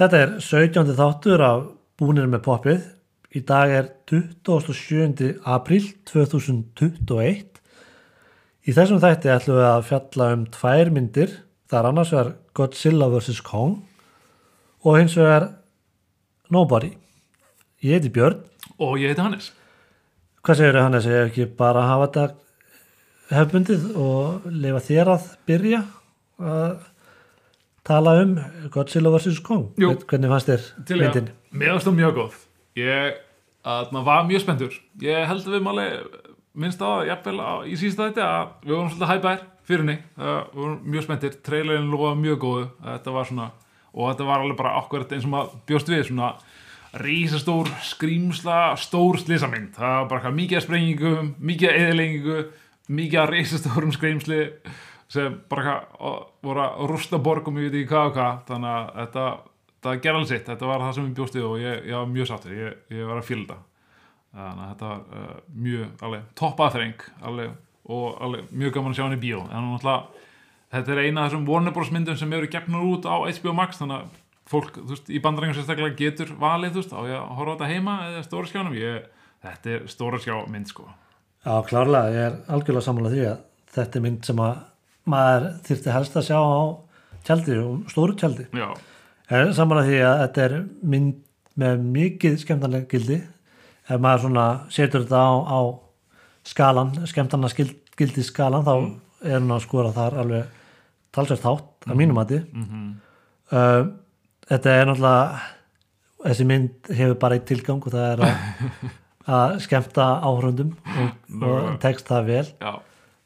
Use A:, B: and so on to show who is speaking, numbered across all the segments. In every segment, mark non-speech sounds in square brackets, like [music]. A: Þetta er 17. þáttur af Búnir með poppið. Í dag er 27. apríl 2021. Í þessum þætti ætlum við að fjalla um tvær myndir. Það er annars vegar Godzilla vs. Kong og hins vegar Nobody. Ég heiti Björn.
B: og ég heiti Hannes
A: Hvað segir þau Hannes? Ég ekki bara að hafa þetta hefbundið og leifa þér að byrja að tala um Godzilla vs. Kong.
B: Jú.
A: Hvern- Hvernig fannst þér
B: Tilega.
A: myndin?
B: Mér varst það mjög góð Ég aðna, var mjög spenntur Ég held að við máli minnst á það jafnvel á, í sísta þetta að við vorum svolítið hæpær fyrir henni uh, við vorum mjög spenntir, trailerin lofaði mjög góðu þetta var svona, og þetta var alveg bara akkurat eins og maður bjóst við svona rísastór, skrýmsla stór slisamynd, það var bara eitthvað mikið að sprengingum, mikið að eðlengingu mikið að rísastórum skrýmsli sem bara eitthvað og voru að rústa borgum, ég veit ekki hvað og hvað þannig að þetta, það gerði alls eitt þetta var það sem ég bjóst við og ég, ég var mjög sáttur ég, ég var að fíla þetta þannig að þetta var uh, mjög alveg topp aðþreng alveg, og alveg mjög gaman að sjá hann í bíó en hún alltaf, þetta er eina af þessum Warner Bros myndum sem eru gefnur út á HBO Max þannig að fólk þú veist, í bandarengjum sérstaklega getur valið þú veist, á ég að horfa á þetta heima eða stóra skjánum ég, þetta er stóra skjá mynd sko
A: Já, klárlega, ég er algjörlega sammála því að þetta er mynd sem að maður þyrfti helst að sjá á tjaldi, stóru tjaldi.
B: já,
A: En sammála því að þetta er mynd með mikið skemmtanlega gildi ef maður svona setur þetta á, á skalan, skemmtanlega skil- gildi skalan þá er hún að skora þar alveg talsvært hátt að mínum mati. Uh, þetta er náttúrulega þessi mynd hefur bara eitt tilgang og það er að, að skemmta áhrundum og, og tekst það vel
B: já,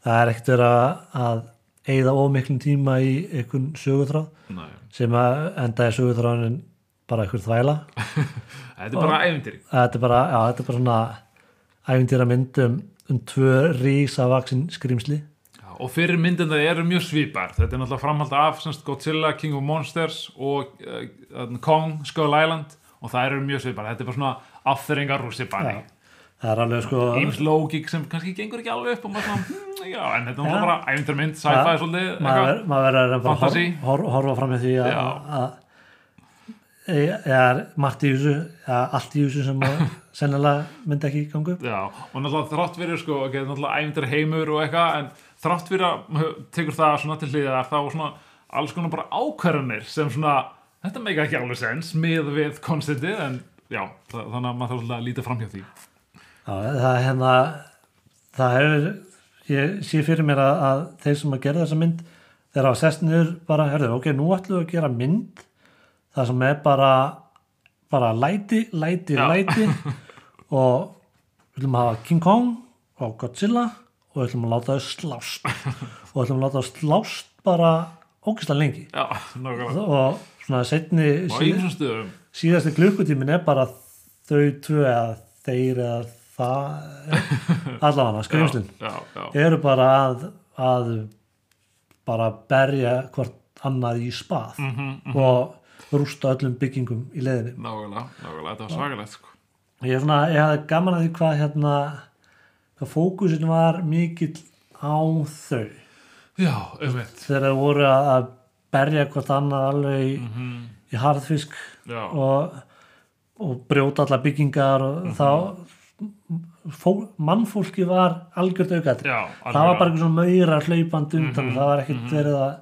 A: það er ekkert verið að- að eigða ómiklum tíma í einhvern sögutráð
B: næ
A: sem að endaði sögutráðin bara einhver þvæla
B: þetta er bara ævintýri
A: þetta er bara, já, þetta er bara svona æfintýra mynd um, um tvö rísavaksin skrýmsli
B: Já, og fyrir myndina eru mjög svipar þetta er náttúrulega framhald af semst, Godzilla, King of Monsters og uh, þarna Kong, Skull Island og það eru mjög svipar, þetta er bara svona afþringar rússi banni,
A: það er alveg sko
B: íms lógik sem kannski gengur ekki alveg upp og maður svona, hmm, já, en þetta
A: Já.
B: er náttúrulega bara æfintur mynd,
A: Ja,
B: sci-fi svolítið
A: maður
B: eitthvað.
A: ver- maður verður að bara hor,
B: Fantasy.
A: hor, horfa fram með því að,
B: Já.
A: að, að ég er margt í þessu að allt í þessu sem að [laughs] sennilega myndi ekki gangu
B: Já, og náttúrulega þrátt fyrir sko, ok, náttúrulega æfintur heimur og eitthvað, en þrátt fyrir að maður tekur það svona til hliðar þá svona alls konar bara ákvarðanir sem svona, þetta meika ekki alveg sens mið við konstitið, en já, þa- þannig að maður þarf svolítið að líta framhjá því.
A: Já, það er hérna það hefur, ég sé fyrir mér að, að þeir sem að gera þessa mynd þeir hafa sest niður bara, herðu, ok, nú ætlum við að gera mynd það sem er bara bara læti, læti,
B: Já.
A: læti og við ætlum að hafa King Kong og Godzilla og við ætlum að láta þau slást og við ætlum að láta þau slást bara ógislega lengi
B: Já, nákvæmlega.
A: og svona setni
B: Og í þessum stöðum,
A: síðasti klukkutímin er bara þau tvö eða þeir eða það allavega skrýmslin
B: já, já, já,
A: eru bara að, að bara berja hvort annað í spað og rústa öllum byggingum í leiðinni
B: nákvæmlega, nákvæmlega, þetta var svakalegt, sko.
A: ég, er svona, ég hafði gaman að því hvað hérna hvað fókusin var mikill á þau
B: Já, auðvitað,
A: þegar þau voru að að berja hvort annað alveg í, í harðfisk
B: já,
A: og, og brjóta alla byggingar og
B: Mhm.
A: þá fó, mannfólki var algjört aukaðri.
B: já, Mhm,
A: Það var bara einhver svona maurar hlaupandi undan það var ekkert verið að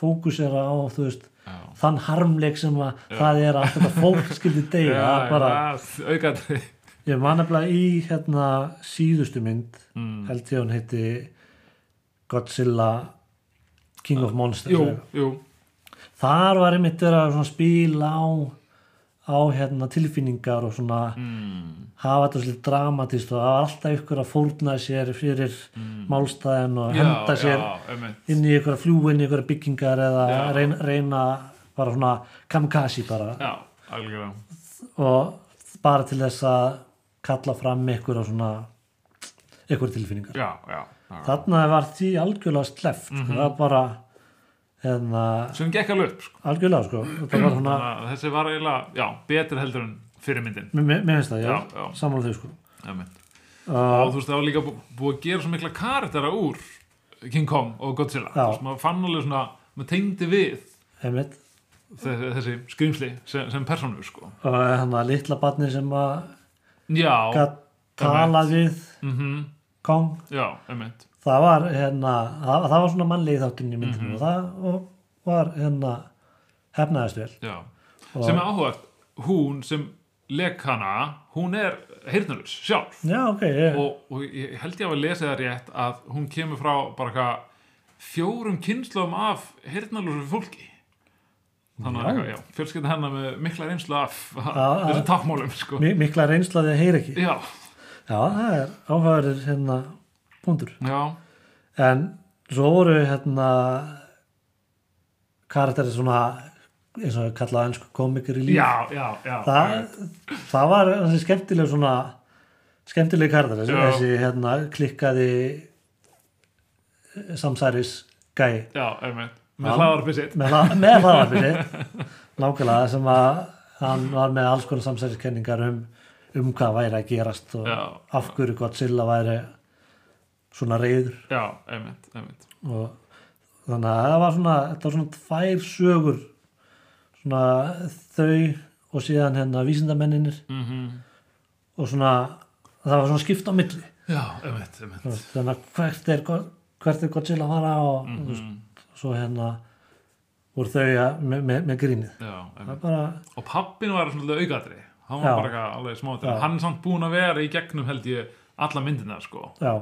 A: fókusera á þú veist,
B: Já.
A: þann harmleik sem að það er að þetta fólk
B: [laughs]
A: skildi degja
B: Já,
A: bara,
B: já, aukaðri,
A: ég man nefnilega í hérna síðustu mynd
B: Mhm.
A: held ég hún heiti Godzilla King of Monsters
B: jú,
A: eða-
B: jú,
A: þar var einmitt verið að svona spila á, á hérna, tilfinningar og svona
B: Mm.
A: hafa þetta svolítið dramatist og það var alltaf ykkur að fórna sér fyrir málstæðin og
B: Mm. já,
A: henda
B: já,
A: sér
B: auðvitað,
A: inn í ykkur að fljúa inn í ykkur byggingar eða
B: Já.
A: reyna, reyna bara svona kamkasi bara
B: já, algjörlega.
A: og bara til þess að kalla fram ykkur að svona ykkur tilfinningar
B: Já, já, já.
A: þarna var því algjörlega sleft
B: Mhm.
A: sko, það var bara hérna,
B: Sem gekk alveg upp, sko.
A: algjörlega sko, þetta var svona
B: Þannig að þessi var eiginlega, já, betur heldur en fyrir myndin,
A: Mér, mér mér finnst það, já,
B: Já, já.
A: sammála þau sko
B: auðvitað.
A: uh,
B: Og þú veist, það var líka bú- búið að gera svo mikla karaktera úr King Kong og Godzilla.
A: Já.
B: Þú veist, maður fann alveg svona, maður tengdi við
A: einmitt,
B: þe- þessi skrýmsli sem, sem persónu sko.
A: og hann að litla barni sem að
B: já,
A: gat talað við
B: mm
A: Kong
B: já, einmitt
A: það var hérna það, það var svona mannlegi þátturinn í
B: Mhm.
A: myndinu og það og var hérna hefnaðist vel
B: já.
A: Og-
B: sem er áhugað, hún sem leik hana, hún er heyrnalus sjálf
A: já ok, ég,
B: og, og ég held ég að lesa það rétt að hún kemur frá bara eitthvað fjórum kynnslum af heyrnalúsu fólki þannig að já, fjölskylda hennar með mikla reynslu af [laughs]
A: já.
B: þessu tákmálum sko.
A: mi- mikla reynslaði að heyra ekki
B: já,
A: já það er áhverður hérna búndur
B: já,
A: en svo voru hérna karakteri svona eins og kallaði ennsku komikir í líf
B: já, já, já
A: það, það var þessi skemmtileg svona skemmtileg karðar þessi,
B: Já.
A: þessi hérna, klikkaði eh, samsæris gæi
B: já, einmitt,
A: Já.
B: með hlaðarpissið
A: með, hla- með hlaðarpinni
B: [laughs]
A: nákvæmlega sem að hann var með alls konar samsæriskenningar um, um hvað væri að gerast og
B: Já.
A: af hverju Godzilla væri svona reyður
B: já, einmitt, einmitt
A: og þannig að það var svona þetta var svona tvær sögur svona þau og síðan hérna vísindamenninir
B: mm
A: og svona það var svona skipt á milli
B: já, einmitt, einmitt
A: Þú veist, þannig að hvert er, Go- hvert er Godzilla að fara og mm veist,
B: Mm,
A: svo hérna voru þau að, með, með, með grínið
B: já,
A: það er
B: einmitt
A: bara,
B: og pappin var svona aukaðri hann
A: Já.
B: var bara eitthvað alveg smá
A: Já.
B: hann er samt búin að vera í gegnum held ég alla myndina sko
A: já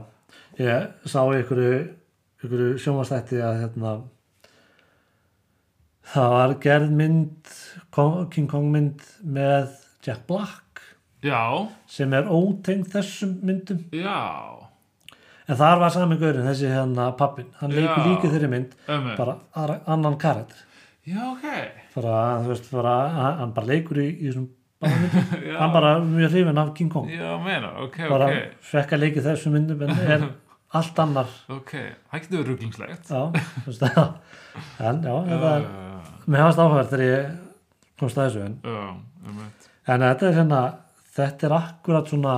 A: ég sá í ykkur ykkur sjónvastætti að hérna það var gerð mynd Kong- King Kong mynd með Jack Black
B: já,
A: sem er ótengd þessum myndum
B: já
A: en þar var sami gaurinn, þessi hérna pappin hann leikur
B: Já.
A: líka þeirri mynd
B: Ömmu.
A: bara aðra- annan karakter
B: Já, ok.
A: bara, þú veist, bara, hann- hann bara leikur í, í þessum bara,
B: [laughs] Já,
A: hann bara er mjög hrifin af King Kong
B: Já, meina, ok,
A: bara
B: ok.
A: fekk að leiki þessu myndum en er
B: [laughs]
A: allt annar
B: Ok, það getur verið rugglingslegt.
A: já, þú veist það en já, þetta er,
B: Já,
A: mér hafast áhverð þegar ég komst að þessu en,
B: já, um veit.
A: en þetta er hérna þetta er akkurat svona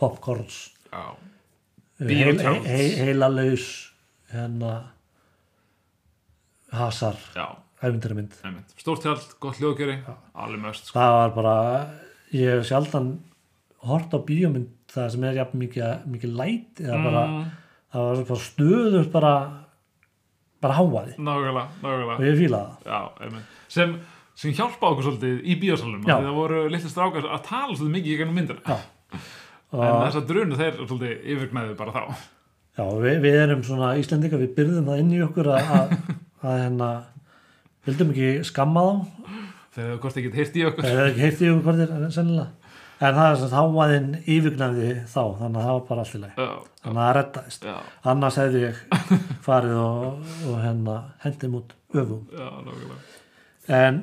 A: popcorns
B: Já,
A: heil,
B: Beetlejuice.
A: heil, heilalaus hérna hasar
B: já,
A: æfindarmynd
B: um veit. Stórt tjald, gott hljóðgjöri, alveg möst. Sko.
A: það var bara ég hef sjaldan hort á bíómynd það sem er jafn mikið, mikið læt eða bara,
B: Mm,
A: það var bara stöður bara, bara háaði
B: nákvæmlega,
A: og
B: nákvæmlega.
A: ég fílaði það
B: Já, um veit. Sem, sem hjálpa okkur svolítið í bíósalunum.
A: Já.
B: af því Það voru litli strákar að tala svolítið mikið í gennum myndina.
A: Já.
B: En þess að drunu þeir svolítið yfirgnæðu bara þá.
A: Já, við, við erum svona Íslendingar, við byrðum það inn í okkur að, að, að hérna vildum ekki skamma þá
B: Þegar þau hvort ekki heyrt í okkur.
A: það er ekki heyrti yfir hverðir sennilega en það er sem sagt háaðinn yfirgnaði þá þannig að það var bara allt í lagi
B: Já,
A: þannig að það rettaðist
B: já,
A: annars hefði ég farið og, og hérna hendi mút öfum
B: já, nákvæmlega.
A: en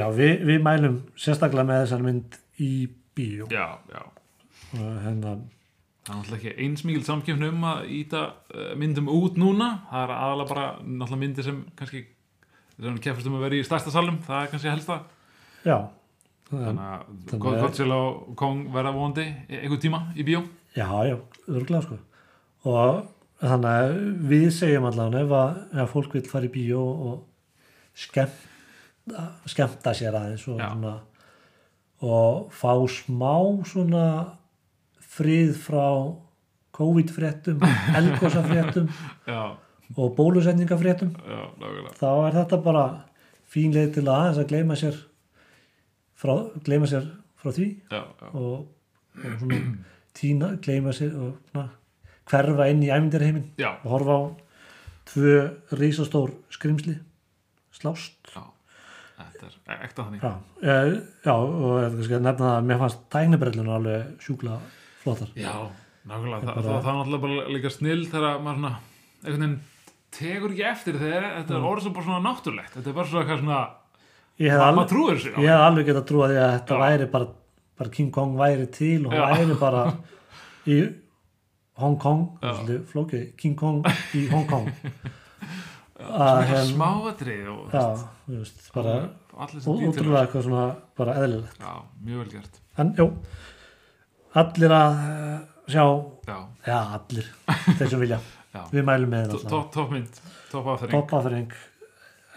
A: já, við, við mælum sérstaklega með þessan mynd í bíó
B: Já, já.
A: og hérna,
B: Það er náttúrulega ekki eins mikil samkjöfni um að íta uh, myndum út núna. Það er aðalega bara náttúrulega myndir sem kannski sem keppast um að vera í stærsta salum. Það er kannski helsta.
A: já
B: Þannig að
A: þannig
B: God-
A: að-
B: Godzilla og Kong verða vonandi e- einhvern tíma í bíó.
A: já, já, örglega sko og þannig að við segjum allan ef að, ef að fólk vil fara í bíó og skemmta, skemmta sér aðeins og,
B: Já.
A: svona, og fá smá svona frið frá COVID-fréttum, elgósafréttum
B: Já,
A: og bólusendingafréttum
B: já, nákvæmlega.
A: þá er þetta bara fín leið til að aðeins að gleyma sér frá, gleyma sér frá því
B: Já, já,
A: og, og svona tína, gleyma sér og svona, hverfa inn í æfindarheimin
B: já,
A: og horfa á tvö risastór skrimsli slást
B: já. Þetta er ekta þannig.
A: já, e, já og ég ætla kannski að nefna það að mér fannst tæknibrellun alveg sjúkla flottar
B: Já, nákvæmlega.
A: Þetta
B: Það, það,
A: bara-
B: það er náttúrulega bara líka snill þegar maður svona einhvern veginn tekur ekki eftir þegar þetta
A: Mm.
B: er orð sem bara svona náttúrulegt. Þetta er bara svona eitthvað svona,
A: ég hef
B: ma- maður
A: alveg,
B: trúir sér á.
A: ég hef alveg getað trúið því að þetta
B: Já.
A: væri bara, bara King Kong væri til og
B: Já.
A: væri bara í Hong Kong
B: Já.
A: svolítið flókið, King Kong í Hong Kong að
B: Svona
A: hérna
B: smáatrið og
A: já, þú veist, bara
B: allir sem dítur
A: ótrúlega eitthvað svona bara eðlilegt
B: já, mjög vel gert
A: en jú, allir að eh, sjá,
B: já,
A: já allir þeir sem vilja,
B: já,
A: við mælum með
B: To-
A: þetta
B: topp top mynd, topp aðferðing
A: poppaferðing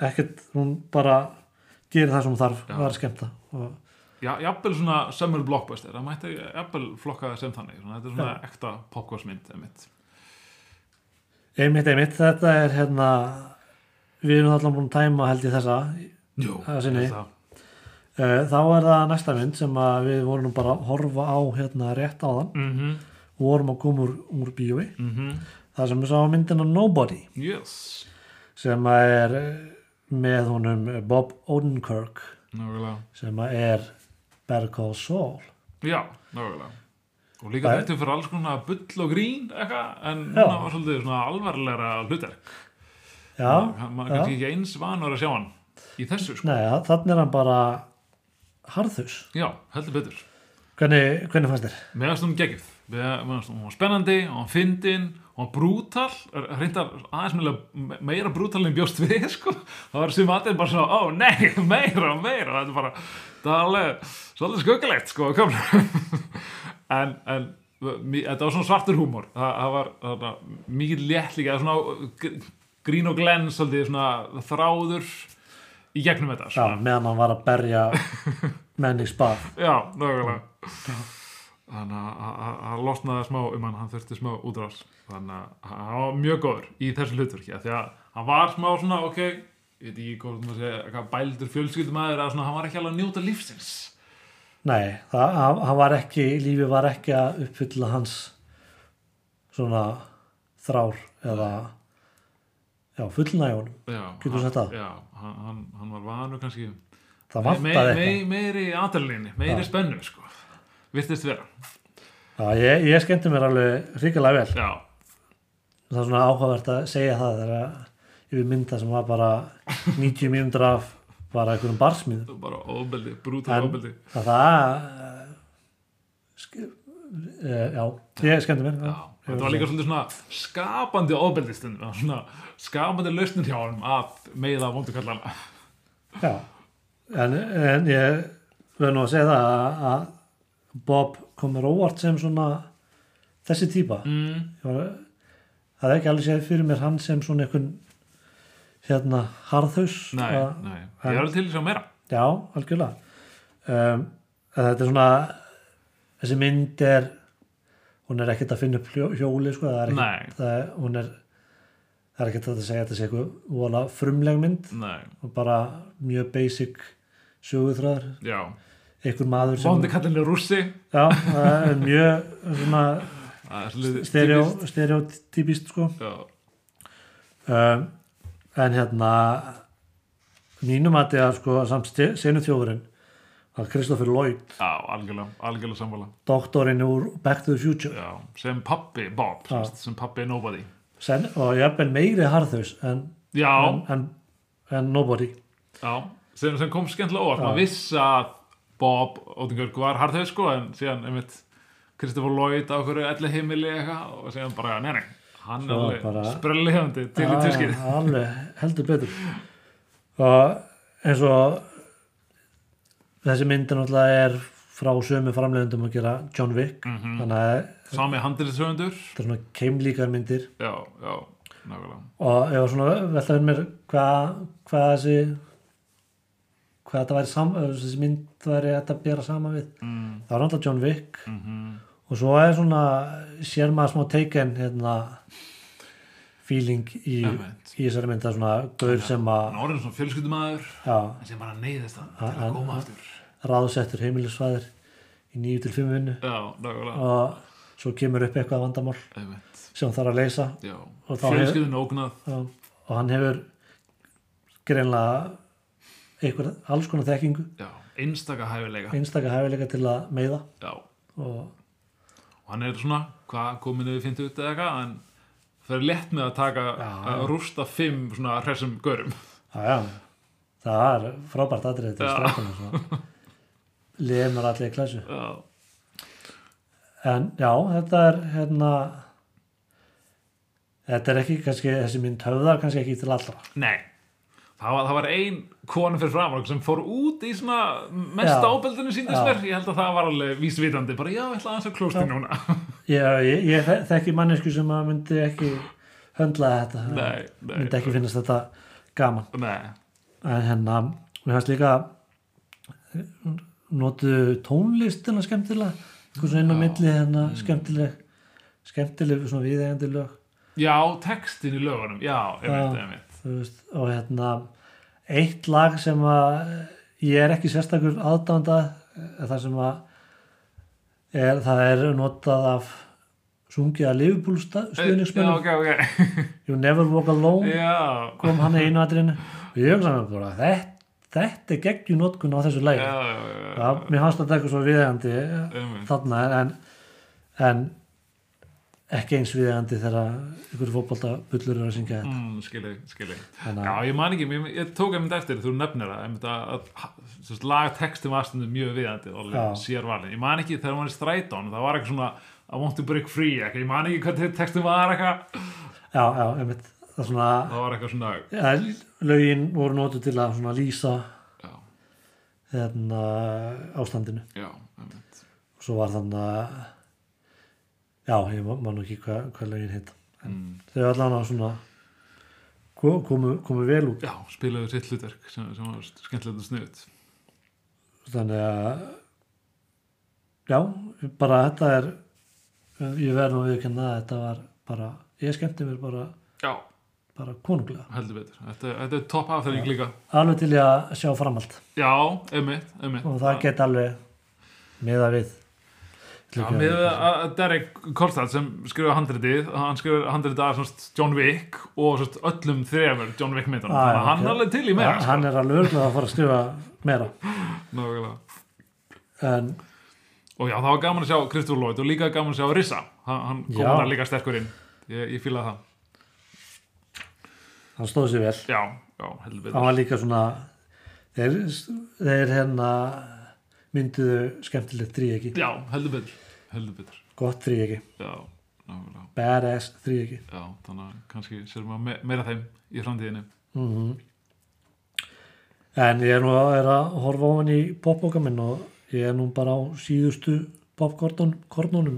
A: ekkert, hún bara gera það sem hún þarf
B: Já.
A: og er að skemmta og,
B: Já, jafnvel svona summer blockbuster, það mætti jafnvel flokka það sem þannig, svona, þetta er svona ekta popkorsmynd, emitt.
A: einmitt, einmitt, þetta er hérna við erum allan búin að tæma held ég þessa
B: Jú,
A: Það er sinni.
B: það.
A: Eh, þá er það næsta mynd sem að við vorum nú bara að horfa á hérna rétt áðan
B: Mhm,
A: og vorum að koma úr, úr bíói
B: mhm,
A: það sem við sáum myndina Nobody
B: yes,
A: sem að er eh, með honum Bob Odenkirk
B: nákvæmlega.
A: sem að er Bergkóð Sól
B: Já, nákvæmlega. Og líka
A: Það er-
B: þetta fyrir alls konar bull og grín, eitthvað, en
A: Já.
B: núna var svolítið svona alvarlegra hlutverk.
A: já,
B: Maður kannski ekki eins vanur að sjá hann í þessu, sko.
A: neða, þannig er hann bara harðus
B: Já, heldur betur.
A: hvernig, hvernig fannst þér?
B: Mér finnst hún geggjöf. Mér finnst hún var spennandi, hún var fyndin, hún var brútal, reyndar aðeins meira, meira brútal en ég bjóst við, [laughs] sko. Það var sem aðeins bara svona, ó nei, [laughs] meira, meira, þetta er bara, það er alveg svolítið skuggalegt, sko, kom. [laughs] en, en, mér- þetta var svona svartur húmor, það, það var, það var mikið létt líka, svona gr- grín og glens, svolítið svona þráður í gegnum þetta,
A: Já, meðan hann var að berja menn í spað
B: Já, nákvæmlega Þannig að- að- að hann losnaði smá um hann, hann þurfti smá útrás Þannig að hann var mjög góður í þessu hlutverki af Því að hann var smá svona, ok Ég veit ekki hvað maður segja, eitthvað bældur fjölskyldumæður Að svona, hann var ekki alveg að njóta lífsins
A: Nei, það, hann hann var ekki, lífið var ekki að uppfylla hans svona þrár eða já, fullnægjón
B: Já,
A: Getur þú
B: hann-
A: sagt það?
B: Já, hann, hann, hann var vanur kannski
A: það
B: mei,
A: vantaði
B: mei,
A: eitthvað
B: Meiri aðalinni, meiri spennu, sko Virtist vera
A: Já, ég, ég skemmti mér alveg ríkilega vel
B: Já,
A: það er svona áhugavert að segja það þegar að yfir mynda sem var bara 90 mínútur af bara einhverjum barsmið
B: það var bara ofbeldi, brútal
A: En-
B: ofbeldi
A: að það eh, sk- eh, já, ég skemmti mér
B: Já, þetta var líka svolítið svona skapandi ofbeldi stundum, svona skapandi lausnir hjá honum að meiða vondu kallana.
A: já. En, en ég verður nú að segja það að- að Bob komur óvart sem svona þessi típa
B: Mm.
A: Ég var, það er ekki alveg séð fyrir mér hann sem svona einhvern hérna harðhaus
B: Nei,
A: að-
B: nei, ég er alveg til í að sjá meira.
A: Já, algjörlega um, en Þetta er svona þessi mynd er hún er ekkert að finna upp hljó- hjóli sko, það er
B: Nei.
A: ekkert það, er- hún er það er ekkert hægt að segja að þetta sé eitthvað vola frumleg mynd
B: Nei,
A: og bara mjög basic söguþræðar,
B: já,
A: einhver maður sem,
B: vondu kallin er rússi,
A: já, það er mjög svona
B: það er svolítið
A: stereo,
B: típist.
A: stereotypist sko
B: Já,
A: um, en hérna mínum að þetta sko samt senu þjófurinn að Christopher Lloyd
B: já, algjörlega, algjörlega samfala.
A: doktorinn úr Back to the Future
B: Já, sem pappi Bob,
A: Já.
B: sem, sem pappi Nobody.
A: Sen, og jafnvel meiri harðhaus en,
B: Já,
A: en, en, en nobody
B: já, sem, sem kom skemmtilega óvart, maður vissi að Bob Ótingörg var harðhauð sko, en síðan, einmitt, Kristoffer Lloyd á hverju elli heimili eitthvað og síðan bara, nei, nei, hann er
A: Svo
B: alveg bara...
A: bara-
B: sprelli hefandi til í
A: Ah,
B: tuskið.
A: alveg heldur betur og eins og þessi myndi náttúrulega er frá sömu framleiðendum að gera John Wick
B: Mhm.
A: þannig að
B: Sami handilsöfundur
A: þetta er svona keimlíkar myndir
B: Já, já, nákvæmlega
A: og ég var svona velta fyrir mér hvað hva þessi hvað þetta væri sam, þessi mynd væri þetta að bera sama við
B: mm,
A: það var náttúrulega John Wick
B: mm
A: og svo er svona sér maður smá taken hérna feeling í,
B: Einmitt.
A: í þessari mynd það er svona gaur sem að
B: Hann orðin svona fjölskyldumæður
A: já,
B: En sem bara neyðist hann
A: Ah,
B: til
A: ah,
B: að koma
A: ah.
B: aftur
A: ráðsettur heimilisfæðir í 9 til 5 vinnu
B: Já, nákvæmlega
A: og svo kemur upp eitthvað vandamál
B: Einmitt,
A: sem hann þarf að leysa
B: já
A: Og þá hefur-
B: Fjölskyldun ógnað
A: og, og hann hefur greinlega einhver alls konar þekkingu
B: Já, einstaka hæfileika
A: einstaka hæfileika til að meiða
B: Já,
A: og
B: og hann er svona Hvað komin við fyndu út eða eitthvað En það er lett með að taka
A: Já,
B: Að rústa fimm svona hressum görum
A: já, já, það er frábært atrið til
B: Já.
A: strákunum lemur allir í klæsu
B: Já,
A: En já, þetta er hérna þetta er ekki kannski, þessi mynd höfðar kannski ekki til allra.
B: nei Það var, það var ein konu fyrir framar sem fór út í svona mesta
A: Já.
B: ábeldinu síndist
A: Já.
B: mér. Ég held að það var alveg vísvitandi. Bara já, ég ætla aðeins að klósti núna.
A: Ég, ég, ég þe- þekki mannesku sem að myndi ekki höndla þetta.
B: [laughs] nei, nei.
A: myndi ekki finnast þetta gaman.
B: Nei,
A: En hérna, mér fannst líka notu tónlistina skemmtilega eitthvað svona inn á milli hérna
B: Mm.
A: skemmtileg skemmtileg svona viðegandi lög
B: já, textin í lögunum já, einmitt,
A: Já.
B: einmitt
A: þú veist, og hérna eitt lag sem að eh, ég er ekki sérstakur aðdánda þar sem að er, það er notað af sungið að Liverpool sta-
B: já,
A: stuðningsmönnum
B: ok, ok
A: You Never Walk Alone
B: já,
A: kom hann í einu atriðinu og ég hugsa mér bara þetta, þetta er geggjum notkun á þessu
B: já,
A: lagi
B: já, já,
A: ja, mér fannst þetta eitthvað svo viðegandi
B: einmitt.
A: þarna en, en ekki eins viðegandi þegar ykkur fótbolta bullur eru að syngja þetta
B: Mm, skilji, skilji
A: Þannig
B: Já,
A: að-
B: ég man ekki, ég, ég tók einmitt eftir þú nefnir það, einmitt að, að, að lagtextum aðstundum mjög viðandi
A: Já.
B: og sér valin, ég man ekki þegar maður er strætón það var eitthvað svona, I want to break free eitthvað, ég man ekki hvað te- textum var eitthvað
A: já, já, einmitt það er svona
B: það var eitthvað svona,
A: ja, lögin voru notu til að svona lýsa
B: já,
A: hérna, ástandinu
B: já einmitt.
A: og svo var þannig að já, ég man- man nú ekki hvað hva lögin heita
B: Mm.
A: þau allan á svona ko- komu, komu vel út
B: já, spilaðu sitt hlutverk sem, sem var skemmtilegt og snuðt
A: þannig að já, bara þetta er ég verð nú að viðurkenna að þetta var bara, ég skemmti mér bara
B: já,
A: bara konunglega,
B: heldur betur, þetta, þetta er topp afþæring líka,
A: alveg til ég að sjá framhald
B: já, einmitt, einmitt
A: og það get alveg miða við
B: Já, með að
A: sko.
B: að Derek Kolstad sem skrifa handritið, hann skrifa handritið að svona John Wick og svona öllum þrefur John Wick myndunum,
A: Ah, já,
B: þannig að hann
A: ok. Ah,
B: er alveg til í meira
A: hann, hann er alveg örgulega að fara að skrifa meira ah.
B: sko. Nákvæmlega.
A: en
B: og já, það var gaman að sjá Christopher Lloyd og líka gaman að sjá Rissa, hann, hann kom
A: Já.
B: hann líka sterkur inn, ég, ég fílaði það
A: hann stóð sér vel
B: já, já, heldur betur
A: hann var líka svona þeir, þeir hérna mynduðu skemmtilegt þríegi
B: já, heldur betur, heldur betur
A: gott þríegi,
B: já, nákvæmlega,
A: badass þríegi
B: já, þannig að kannski sér maður me meira af þeim í framtíðinni
A: Mhm. En ég er nú að, er að horfa á hann í popboka minn og ég er nú bara á síðustu popkornunum.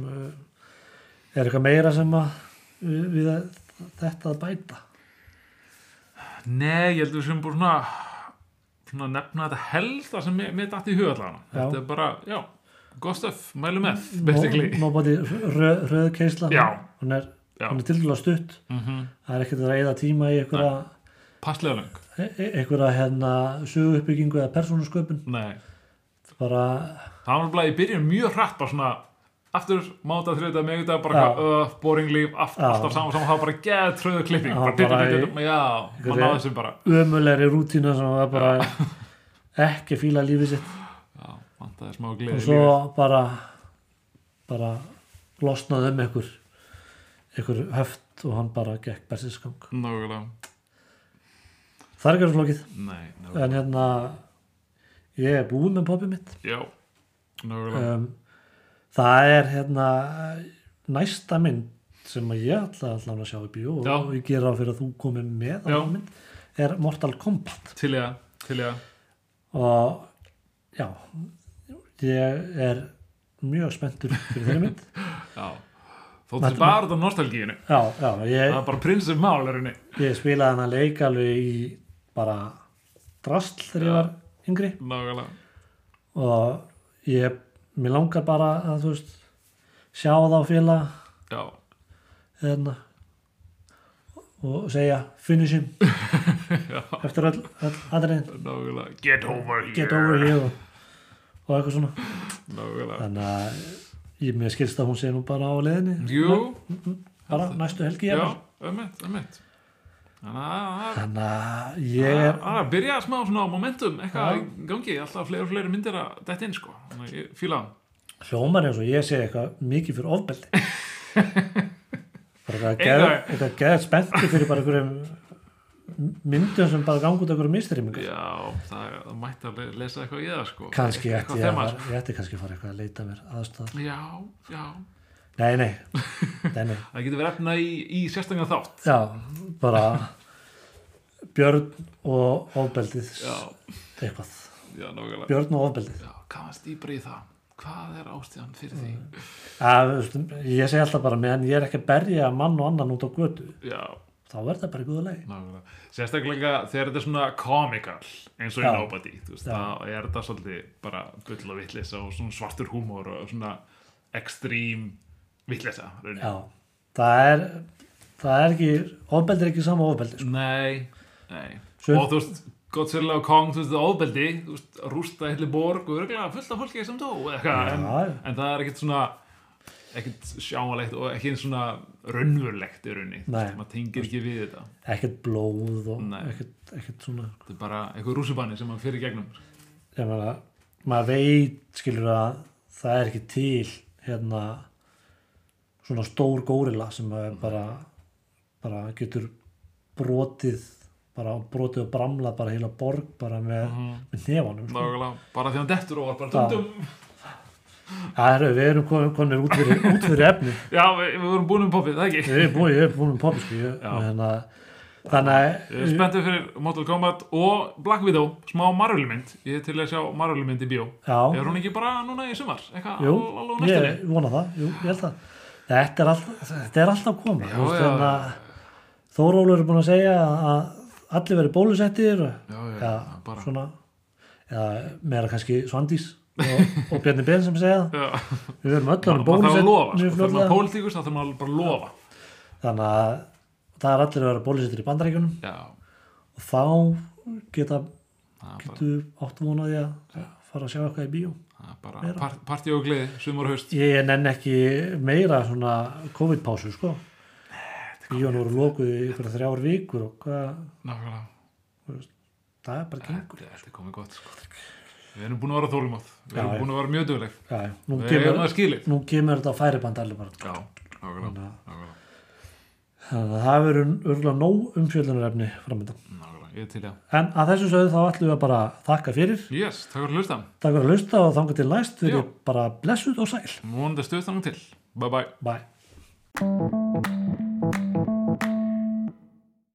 A: Er eitthvað meira sem að við, við að, þetta að bæta?
B: Nei, ég held að við sem búin svona, svona að nefna þetta helst það sem mér, mér datt í huga allan
A: Já.
B: þetta er bara, já, gott stöf, mælu með basically,
A: Nó- Nobody röð, röðkeisla.
B: Já.
A: Hún er,
B: já,
A: hún er tildulega stutt.
B: mm -hmm.
A: Það er ekkert að reyða tíma í einhverja,
B: passlega lang
A: e- e- einhverja hérna, söguuppbyggingu eða persónusköpun.
B: Nei,
A: Bara,
B: það var bara, ég byrjun mjög hratt bara svona, aftur, máta þriðið með þetta, bara
A: Já.
B: hvað, öf, boring líf aft,
A: Já.
B: alltaf saman saman, það var bara geð tröðu klipping,
A: Já,
B: bara dittum,
A: bara í-
B: dittum, já
A: Einhverju-
B: maður náði þessu bara,
A: ömulegri rútína sem var bara ekki að fíla lífið sitt.
B: já, vantaði smá
A: og
B: gleði
A: svo bara bara losnaði um einhver einhver höft og hann bara gekk bersinsgang
B: Nógulega,
A: það er ekki alveg flókið
B: nei, nágulega
A: en hérna ég er búið með popið mitt
B: já, nágulega
A: um, það er hérna næsta mynd sem að ég ætla allan að sjá í bíó
B: Já.
A: og ég gera á fyrir að þú komið með á
B: Já.
A: þá mynd, er Mortal Kombat
B: til ég, að- til ég að-
A: og já ég er mjög spenntur fyrir þeirri mynd
B: já þóttu sér bara þetta nostalgíinu
A: já, já, ég,
B: Það er bara prinsum mál er henni.
A: Ég spilaði hann að leik alveg í bara drastl þegar ég var yngri
B: Nákvæmlega.
A: og ég, mér langar bara að þú veist, sjá þá félag
B: Já.
A: hérna og segja finish him eftir öll, öll aðriðin
B: Nákvæmlega. Get over here.
A: get over here og, og eitthvað svona
B: Nákvæmlega.
A: þannig að ég mér skilst að hún sé nú bara á leiðinni
B: Jú.
A: bara næstu helgi
B: Já.
A: jafnvel.
B: Ömmett. Ömmett. Þannig að
A: þannig að ég
B: það
A: er
B: er að byrja smá svona á momentum. Eitthvað
A: Já.
B: í gangi. Alltaf fleiri og fleiri myndir að detta inn sko. Þannig að ég fíla það.
A: hljómar eins og ég sé eitthvað mikið fyrir ofbeldi
B: [laughs]
A: bara
B: Einar.
A: eitthvað geðað spenntu fyrir bara einhverjum myndum sem bara gangi út af einhverjum mistrymming
B: Já. Það, er- það mætti að lesa eitthvað í það sko.
A: kannski
B: Eitthvað
A: ætti ég,
B: sko.
A: að
B: þema,
A: fara- ég ætti kannski að fara eitthvað að leita mér aðstæða
B: sko. Já. Já.
A: nei,
B: [laughs]
A: nei, nei, nei.
B: Það getur verið efna í, í sérstaklega þátt.
A: já, bara björn og ofbeldið
B: Já.
A: eitthvað,
B: Já. Nákvæmlega.
A: björn og ofbeldið
B: Já. Hvað var stýpar í það? Hvað er ástíðan fyrir því?
A: Mm. að, ég segi alltaf bara meðan ég er ekki að berja mann og annan út á götu
B: Já.
A: þá er það bara í góðu lagi
B: Nákvæmlega. Sérstaklega þegar þetta er svona komikal eins og í
A: Já.
B: Nobody þú veist,
A: Já.
B: þá er þetta svolítið bara bull og vitlisa og svona svartur húmór og svona ekstrím vitlisa
A: Já, það er það er ekki, ofbeldi er ekki sama ofbeldi sko.
B: Nei, nei
A: Sum-
B: Og þú veist, Godzilla og Kong, þú veist, ofbeldi þú veist, rústa heilu borg og örgulega fullt af fólki sem dó eða eitthvað, en,
A: Já, já.
B: en það er ekkert svona ekkert sjáanlegt og ekki eins svona raunverulegt í rauninni, Þú veist,
A: Nei.
B: maður tengir ekki við þetta
A: ekkert blóð og
B: Nei.
A: ekkert, ekkert svona
B: þetta er bara eitthvað rússubanni sem maður fyrir gegnum
A: ég meina, maður veit skilur að það er ekki til hérna svona stór górila sem er bara, bara getur brotið bara brotið og bramlað bara heila borg bara með,
B: Mhm.
A: með nefanum sko.
B: Nákvæmlega, bara því hann dettur og var bara
A: Já.
B: dundum
A: Það eru, við erum kon- konir út fyrir, út fyrir efni
B: Já, við, við vorum búin um poppið, það ekki
A: Ég er búin, ég er búin um poppi sko ég,
B: Já.
A: hérna, Þannig
B: Ég er
A: að
B: spenntið fyrir Mortal Kombat og Black Widow, smá marvölmynd Ég er til að sjá marvölmynd í bíó
A: Já,
B: Er hún ekki bara núna í sumar? Eitthvað
A: jú,
B: al- alveg á næstunni?
A: ég vona það jú, ég held það Þetta er alltaf, þetta er alltaf koma
B: Já, já.
A: Þannig að Þórólur er búin að segja að allir verið bólusettir
B: Já, já,
A: Já,
B: bara
A: svona Já, meira kannski Svandís og, og Bjarni Ben sem segja það.
B: Já,
A: Við verum öll
B: maður
A: að
B: þarf að lofa, sko,
A: mjög
B: þegar maður
A: fljótlega.
B: er pólitíkus þá þarf maður bara að lofa
A: Þannig að það er allir að vera bólusettir í bandarækjunum
B: Já,
A: og þá geta
B: það er bara,
A: getu átt vonaði að fara að sjá eitthvað í bíó
B: það er bara part, partí og gleði, sumar og haust
A: ég nenn ekki meira svona COVID-pásu sko bíón voru lokuð í ykkur þrjár vikur og hvað,
B: Nákvæmlega,
A: það er bara gengur
B: þetta þetta er komið gott sko. Við erum búin að vera þólumátt Við
A: Já,
B: erum
A: já.
B: búin að vera mjög dugleg
A: já, já, nú,
B: Við erum
A: kemur,
B: það skilið
A: nú kemur þetta á færiband allir bara
B: Já, nákvæmlega,
A: Þannig að-
B: nákvæmlega
A: þannig að það verður örgulega nóg umfjöldunarefni framöndan
B: Nákvæmlega, ég er til í það.
A: en að þessu sögðu þá ætlum við að bara þakka fyrir
B: Yes, takk fyrir að hlusta.
A: takk fyrir að hlusta og þanga til næst
B: Já.
A: fyrir bara blessuð og sæl
B: Mónandi stuð þannig til. Bye bye.
A: bye